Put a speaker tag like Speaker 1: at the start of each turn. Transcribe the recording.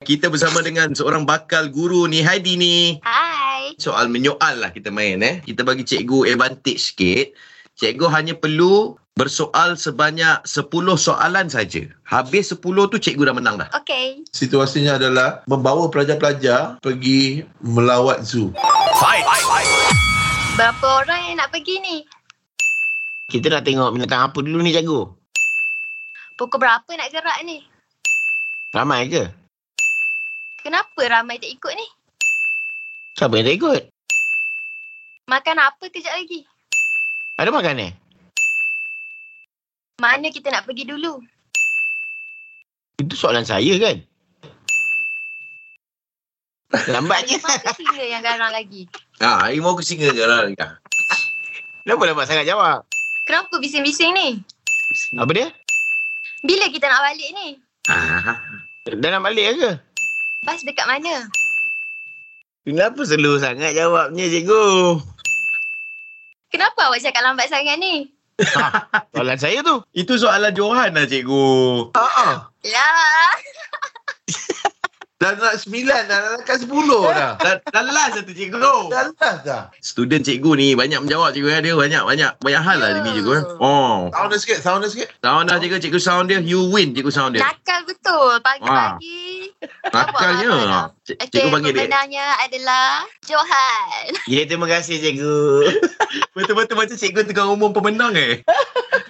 Speaker 1: Kita bersama dengan seorang bakal guru ni Heidi ni
Speaker 2: Hai.
Speaker 1: Soal menyoal lah kita main eh Kita bagi cikgu advantage sikit Cikgu hanya perlu bersoal sebanyak 10 soalan saja. Habis 10 tu cikgu dah menang dah.
Speaker 2: Okey.
Speaker 3: Situasinya adalah membawa pelajar-pelajar pergi melawat zoo.
Speaker 2: Berapa orang yang nak pergi ni?
Speaker 4: Kita nak tengok binatang apa dulu ni jago?
Speaker 2: Pukul berapa nak gerak ni?
Speaker 4: Ramai ke?
Speaker 2: Kenapa ramai tak ikut ni?
Speaker 4: Siapa yang tak ikut?
Speaker 2: Makan apa kejap lagi?
Speaker 4: Ada makan eh?
Speaker 2: Mana kita nak pergi dulu?
Speaker 4: Itu soalan saya kan? Lambatnya.
Speaker 2: Harimau ke singa yang garang lagi?
Speaker 1: Ha, harimau ke singa ke lah.
Speaker 4: Kenapa lambat sangat jawab?
Speaker 2: Kenapa bising-bising ni?
Speaker 4: Apa dia?
Speaker 2: Bila kita nak balik ni?
Speaker 1: Ha,
Speaker 4: Dah nak balik ke?
Speaker 2: Bas dekat mana?
Speaker 4: Kenapa slow sangat jawabnya cikgu?
Speaker 2: Kenapa awak cakap lambat sangat ni?
Speaker 4: Soalan saya tu.
Speaker 1: itu soalan Johan lah cikgu.
Speaker 4: Ah,
Speaker 2: Lah.
Speaker 3: Dah nak sembilan, dah nak dekat sepuluh dah.
Speaker 1: Dah, dah last satu cikgu.
Speaker 3: Dah lah dah.
Speaker 1: Student cikgu ni banyak menjawab cikgu eh. Dia banyak banyak banyak hal lah dia ni cikgu eh. Oh.
Speaker 3: Sound dia sikit, sound dia sikit.
Speaker 1: Sound dah cikgu, cikgu sound dia. You win cikgu sound dia.
Speaker 2: Nakal betul. Pagi-pagi.
Speaker 1: Nakalnya. Cik,
Speaker 4: Ah.
Speaker 2: Okey,
Speaker 1: cikgu panggil dia.
Speaker 2: pemenangnya adalah Johan.
Speaker 4: ya terima kasih cikgu.
Speaker 1: Betul-betul macam cikgu tengah umum pemenang eh.